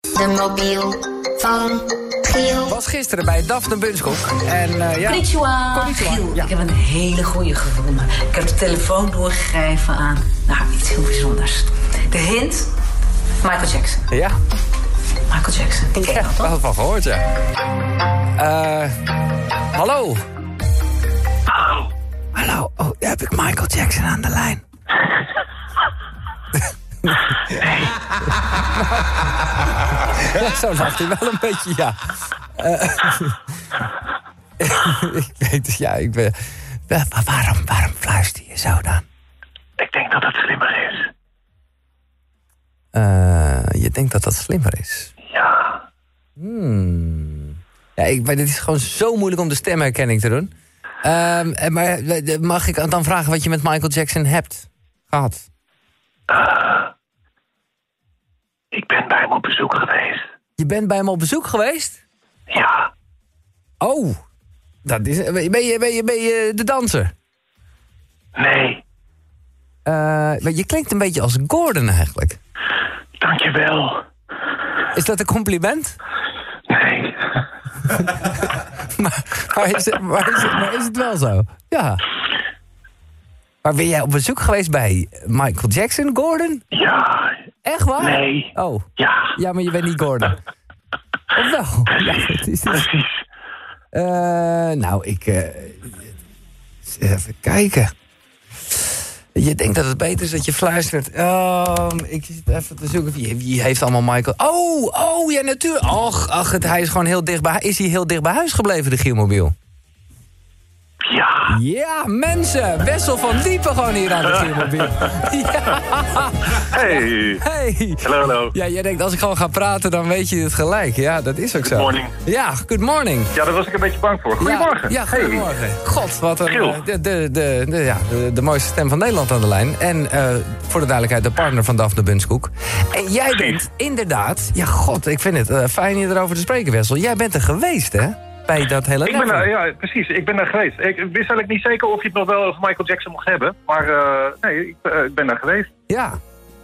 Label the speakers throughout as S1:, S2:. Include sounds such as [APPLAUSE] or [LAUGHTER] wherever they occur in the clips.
S1: de mobiel van Giel.
S2: Was gisteren bij Daphne Bunskoek. En eh, ja.
S3: Konnichiwa.
S2: Konnichiwa,
S3: Giel,
S2: ja.
S3: ik heb een hele goeie gevonden. Ik heb de telefoon doorgegeven aan, nou, iets heel bijzonders. De hint, Michael Jackson.
S2: Ja,
S3: Michael Jackson, ken je
S2: ja,
S3: dat
S2: daar
S3: toch?
S2: had ik van gehoord, ja. Eh, hallo.
S4: Hallo.
S2: Hallo. Oh, daar heb ik Michael Jackson aan de lijn. [LAUGHS] ja, zo lacht hij wel een beetje, ja. Eh, [LAUGHS] ik weet het, ja, ik ben... Wa- wa- Waarom, waarom fluister je zo dan?
S4: Ik denk dat het slimmer is.
S2: Eh, je denkt dat dat slimmer is.
S4: Ja.
S2: Ja, ik, maar dit is gewoon zo moeilijk om de stemherkenning te doen. Ehm, eh, maar eh, mag ik dan vragen wat je met Michael Jackson hebt gehad?
S4: Ik ben bij hem op bezoek geweest.
S2: Je bent bij hem op bezoek geweest?
S4: Ja.
S2: Oh, dat is, eh, ben, je, ben, je, ben je de danser?
S4: Nee.
S2: Eh, maar je klinkt een beetje als Gordon eigenlijk.
S4: Dankjewel.
S2: Is dat een compliment? [LAUGHS]
S4: Nee.
S2: Maar, maar, is, het- maar, is, het- maar is het wel zo? Ja. Maar ben jij op bezoek geweest bij Michael Jackson, Gordon?
S4: Ja.
S2: Echt waar?
S4: Nee.
S2: Oh,
S4: Ja.
S2: ja, maar je bent niet Gordon. Of wel? Ja, het is,
S4: Precies.
S2: Eh, nou, ik... eh, even kijken. Je denkt dat het beter is dat je fluistert. Ehm, ik zit even te zoeken. Wie, wie heeft allemaal Michael? Oh, oh, ja, natuurlijk. Och, ach, het, hij is gewoon heel dicht bij... Is hij heel dicht bij huis gebleven, de Gielmobiel?
S4: Ja.
S2: Ja, mensen. Wessel van Diepen gewoon hier aan de Gielmobiel. [LAUGHS] Ja,
S4: Hey.
S2: hey.
S4: Hallo, hallo.
S2: Ja, jij denkt, als ik gewoon ga praten, dan weet je het gelijk. Ja, dat is ook zo.
S4: Good morning.
S2: Ja, good morning.
S4: Ja, daar was ik een beetje bang voor. Goedemorgen.
S2: Ja, ja goedemorgen. God, wat een,
S4: Giel.
S2: eh, de, de, de, de- ja, de, de mooiste stem van Nederland aan de lijn. En eh, voor de duidelijkheid, de partner van Daphne Bunskoek. En jij bent inderdaad... Ja, god, ik vind het eh, fijn je erover te spreken, Wessel. Jij bent er geweest, hè? Bij dat hele
S4: Ik ben
S2: level.
S4: daar, ja, precies. Ik ben daar geweest. Ik wist eigenlijk niet zeker of je het nog wel over Michael Jackson mocht hebben. Maar eh, nee, ik, eh, ik ben daar geweest.
S2: Ja.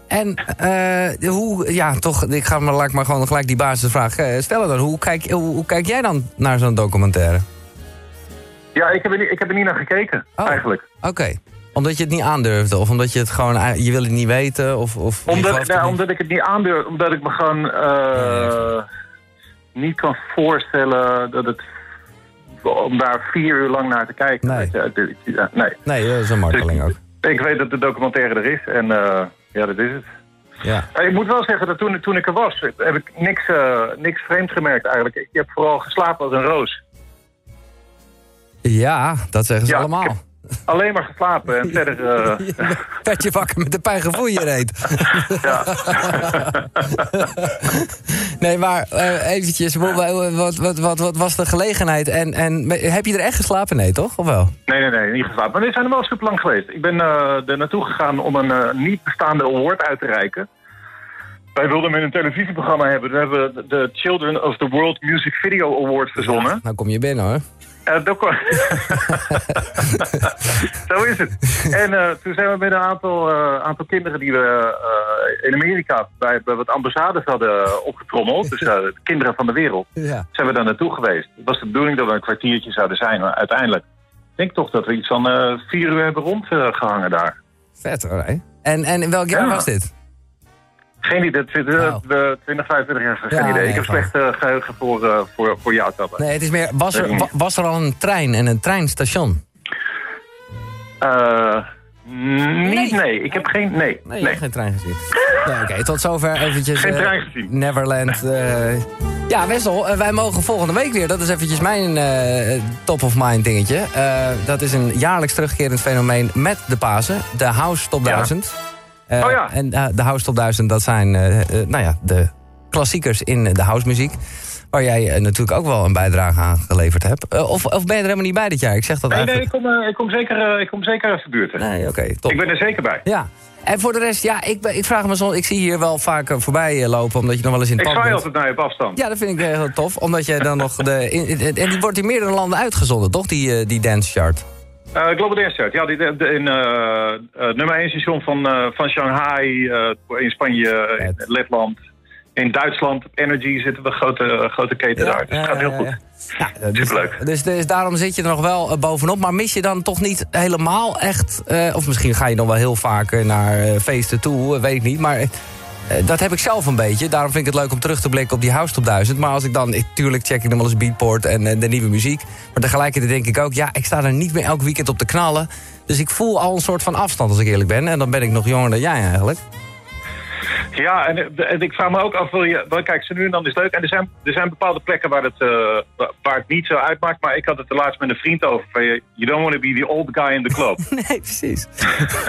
S2: En eh, hoe... Ja, toch, ik ga maar, laat ik maar gewoon gelijk die basisvraag eh, stellen dan. Hoe kijk, hoe, hoe kijk jij dan naar zo'n documentaire?
S4: Ja, ik heb er niet, ik heb er niet naar gekeken,
S2: Oh.
S4: eigenlijk.
S2: Oké. omdat je het niet aandurfde? Of omdat je het gewoon... eh, Je wil het niet weten? Of, of je
S4: Omdat,
S2: gelooft
S4: ik-
S2: het
S4: nou,
S2: niet?
S4: omdat ik het niet aandurf, omdat ik me gewoon eh, niet kan voorstellen dat het om daar vier uur lang naar te kijken.
S2: Nee.
S4: weet je. Het- het- ja, nee.
S2: Nee, dat is een marteling ook.
S4: Ik weet dat de documentaire er is en eh, ja, dat is het.
S2: Ja.
S4: Eh, Ik moet wel zeggen dat toen, toen ik er was, heb ik niks, eh, niks vreemds gemerkt eigenlijk. Ik heb vooral geslapen als een roos.
S2: Ja, dat zeggen ze
S4: Ja, ik [LAUGHS]
S2: allemaal.
S4: heb- Alleen maar geslapen en verder... eh,
S2: [LAUGHS] Dat je wakker met een pijn gevoel je reed.
S4: ja.
S2: [LAUGHS] Nee, maar eh, eventjes, wa- wa- wat, wat, wat, wat was de gelegenheid? En, en me- heb je er echt geslapen? Nee, toch? Of wel?
S4: Nee, nee, nee, niet geslapen. Maar we zijn er wel super lang geweest. Ik ben eh, er naartoe gegaan om een eh, niet bestaande award uit te reiken. Wij wilden hem in een televisieprogramma hebben. Toen hebben we de Children of the World Music Video Award verzonnen.
S2: Nou kom je binnen hoor.
S4: Eh, dat kon- Zo is het. En eh, toen zijn we met een aantal, eh, aantal kinderen die we eh, in Amerika bij, bij wat ambassades hadden opgetrommeld. Dus eh, de kinderen van de wereld.
S2: Ja.
S4: Zijn we daar naartoe geweest. Het was de bedoeling dat we een kwartiertje zouden zijn. Maar uiteindelijk, ik denk toch dat we iets van eh, vier uur hebben rondgehangen daar.
S2: Vet hoor, hè? En, en in welk jaar
S4: Ja.
S2: was dit?
S4: Geen idee, dat zit, eh,
S2: Nou.
S4: de 20, 25 jaar, geen
S2: Ja,
S4: idee.
S2: nee,
S4: ik heb
S2: gewoon.
S4: slecht eh, geheugen voor, eh, voor, voor jou, Tabba.
S2: Nee, het is meer, was er, wa- was er al een trein en een treinstation?
S4: Eh,
S2: Nee.
S4: niet, nee. Ik heb geen, nee.
S2: Nee,
S4: Nee,
S2: je hebt geen trein gezien. Nee, Oké, tot zover eventjes.
S4: Geen
S2: eh,
S4: trein gezien.
S2: Neverland. eh. ja, Wessel, eh, wij mogen volgende week weer. Dat is eventjes mijn eh, top of mind dingetje. Eh, dat is een jaarlijks terugkerend fenomeen met de Pasen. De House Top
S4: Ja.
S2: 1000. Eh,
S4: Oh ja.
S2: En eh, de House Top 1000, dat zijn eh, eh, nou ja, de klassiekers in de house muziek. Waar jij eh, natuurlijk ook wel een bijdrage aan geleverd hebt. Eh, of, of ben je er helemaal niet bij dit jaar? Ik zeg dat
S4: Nee, nee, ik
S2: eigenlijk.
S4: kom, eh, ik kom zeker, eh, ik kom zeker uit de buurt. hè.
S2: Nee, oké, top.
S4: Ik ben er zeker bij.
S2: Ja. En voor de rest, ja, ik, ben- ik vraag me soms... Ik zie hier wel vaak eh, voorbij eh, lopen, omdat je nog wel eens in het
S4: Ik
S2: pand
S4: zwaai
S2: bent.
S4: altijd naar je op afstand.
S2: Ja, dat vind ik eh, heel tof, omdat je dan [LAUGHS] nog de... in- in- en die wordt in meerdere landen uitgezonden, toch, die, eh, die dance chart?
S4: Eh, Global Dance Chart, ja, die, de- de- in eh, eh, nummer 1 station van, eh, van Shanghai, eh, in Spanje, in
S2: Vet.
S4: Letland, In Duitsland, op Energy zitten we, grote, grote keten daar. Dus het gaat heel goed.
S2: Ja, ja, dus,
S4: Superleuk.
S2: Dus, dus daarom zit je er nog wel eh, bovenop. Maar mis je dan toch niet helemaal echt... eh, of misschien ga je dan wel heel vaak eh, naar eh, feesten toe, eh, weet ik niet. Maar eh, dat heb ik zelf een beetje. Daarom vind ik het leuk om terug te blikken op die House Top 1000. Maar als ik dan... Ik, tuurlijk check ik dan wel eens Beatport en eh, de nieuwe muziek. Maar tegelijkertijd denk ik ook... Ja, ik sta er niet meer elk weekend op te knallen. Dus ik voel al een soort van afstand, als ik eerlijk ben. En dan ben ik nog jonger dan jij eigenlijk.
S4: Ja, en, en ik vraag me ook af, wil je, wel, kijk, ze nu en dan is leuk. En er zijn, er zijn bepaalde plekken waar het, eh, wa- waar het niet zo uitmaakt. Maar ik had het er laatst met een vriend over. Van, je- you don't want to be the old guy in the club.
S2: Nee, precies.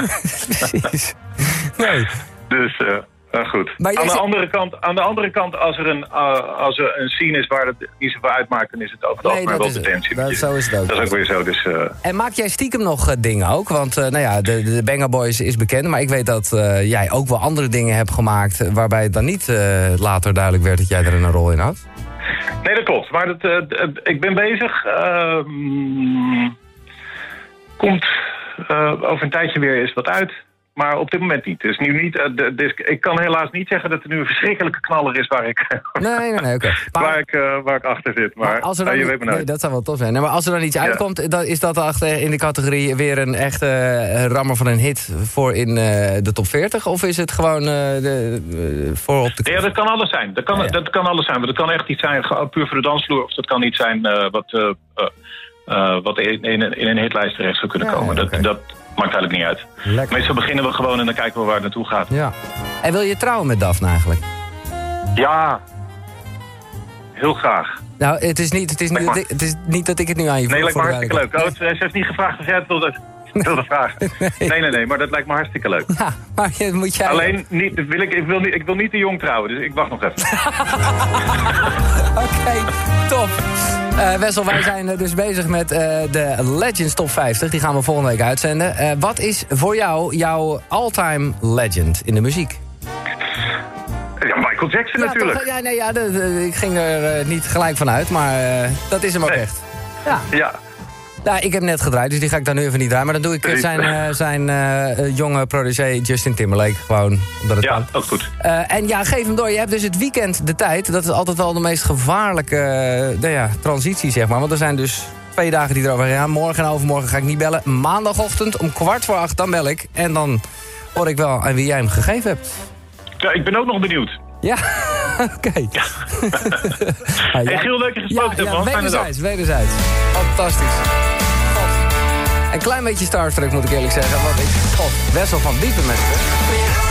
S2: [LAUGHS] precies. Nee.
S4: Dus eh, nou goed.
S2: Maar jij
S4: aan, de
S2: zegt-
S4: andere kant, aan de andere kant, als er een, eh, als er een scene is waar het niet zoveel uitmaakt, dan is het over het
S2: Nee, dat
S4: algemeen wel
S2: is het.
S4: potentie.
S2: Dat- zo is het ook.
S4: Dat is ook weer zo. Dus, eh,
S2: En maak jij stiekem nog eh, dingen ook? Want eh, nou ja, de, de Banger Boys is bekend, maar ik weet dat eh, jij ook wel andere dingen hebt gemaakt... eh, waarbij het dan niet eh, later duidelijk werd dat jij er een rol in had.
S4: Nee, dat klopt. Maar dat, eh, d- eh, ik ben bezig. ehm, komt eh, over een tijdje weer eens wat uit. Maar op dit moment niet. Dus nu niet. eh, de- dus ik kan helaas niet zeggen dat er nu een verschrikkelijke knaller is waar ik, [LAUGHS]
S2: Nee, nee, nee, oké.
S4: waar ik, eh, waar ik achter zit. Maar,
S2: als er
S4: nou,
S2: dan,
S4: je weet me
S2: nee,
S4: nooit.
S2: dat zou wel tof zijn. Nee, maar als er dan iets uitkomt, dan is dat achter in de categorie weer een echte eh, rammer van een hit voor in eh, de top 40? Of is het gewoon eh, de, eh, voor op de...
S4: Ja, dat kan alles zijn. Dat kan,
S2: Ja, ja.
S4: Dat kan alles zijn. Maar dat kan echt iets zijn ge- puur voor de dansvloer. Of dat kan iets zijn eh, wat, eh, eh, eh, wat in, in, een- in een hitlijst terecht zou kunnen
S2: Ja,
S4: komen.
S2: ja, oké.
S4: dat, dat maakt eigenlijk niet uit.
S2: Lekker.
S4: Meestal beginnen we gewoon en dan kijken we waar het naartoe gaat.
S2: Ja. En wil je trouwen met Daphne eigenlijk?
S4: Ja, heel graag.
S2: Nou, het is niet, het is niet,
S4: Lekker.
S2: dat ik- het is niet dat ik het nu aan je
S4: Nee,
S2: vroeg,
S4: lijkt me
S2: voor de
S4: hartstikke leuk. Oh,
S2: duidelijkheid.
S4: ze ze heeft niet gevraagd of jij
S2: [LAUGHS]
S4: het wilde, wilde vragen. Nee. nee, nee, maar dat lijkt me hartstikke leuk.
S2: Ja, maar je- moet jij...
S4: Alleen, niet, wil ik, ik, wil niet, ik wil niet te jong trouwen, dus ik wacht
S2: [LAUGHS]
S4: nog even.
S2: [LAUGHS] Oké, top. Eh, Wessel, wij zijn eh, dus bezig met eh, de Legends Top 50. Die gaan we volgende week uitzenden. Eh, wat is voor jou jouw all-time legend in de muziek?
S4: Ja, Michael Jackson natuurlijk.
S2: Ja, toch? ja, nee, ja dat- eh, ik ging er eh, niet gelijk van uit, maar eh, dat is hem ook
S4: Nee.
S2: echt. Ja.
S4: Ja,
S2: Nou, ik heb net gedraaid, dus die ga ik daar nu even niet draaien. Maar dan doe ik eh,
S4: Precies.
S2: zijn, eh, zijn eh, eh, jonge protégé Justin Timberlake gewoon. Omdat het
S4: ja,
S2: kan.
S4: ook goed.
S2: Eh, en ja, geef hem door. Je hebt dus het weekend de tijd. Dat is altijd wel de meest gevaarlijke eh, nou ja, transitie, zeg maar. Want er zijn dus twee dagen die erover gaan. Morgen en overmorgen ga ik niet bellen. Maandagochtend om kwart voor acht, dan bel ik. En dan hoor ik wel aan wie jij hem gegeven hebt.
S4: Ja, ik ben ook nog benieuwd.
S2: Ja, [LAUGHS] oké. [LAUGHS] Ah, ja.
S4: Hey, Giel, leuk je gesproken te
S2: ja,
S4: hebben, man. Fijne dag.
S2: wederzijds, wederzijds. Fantastisch. God. Een klein beetje starstruck, moet ik eerlijk zeggen. Want ik, god, Wessel van Diepenmeester.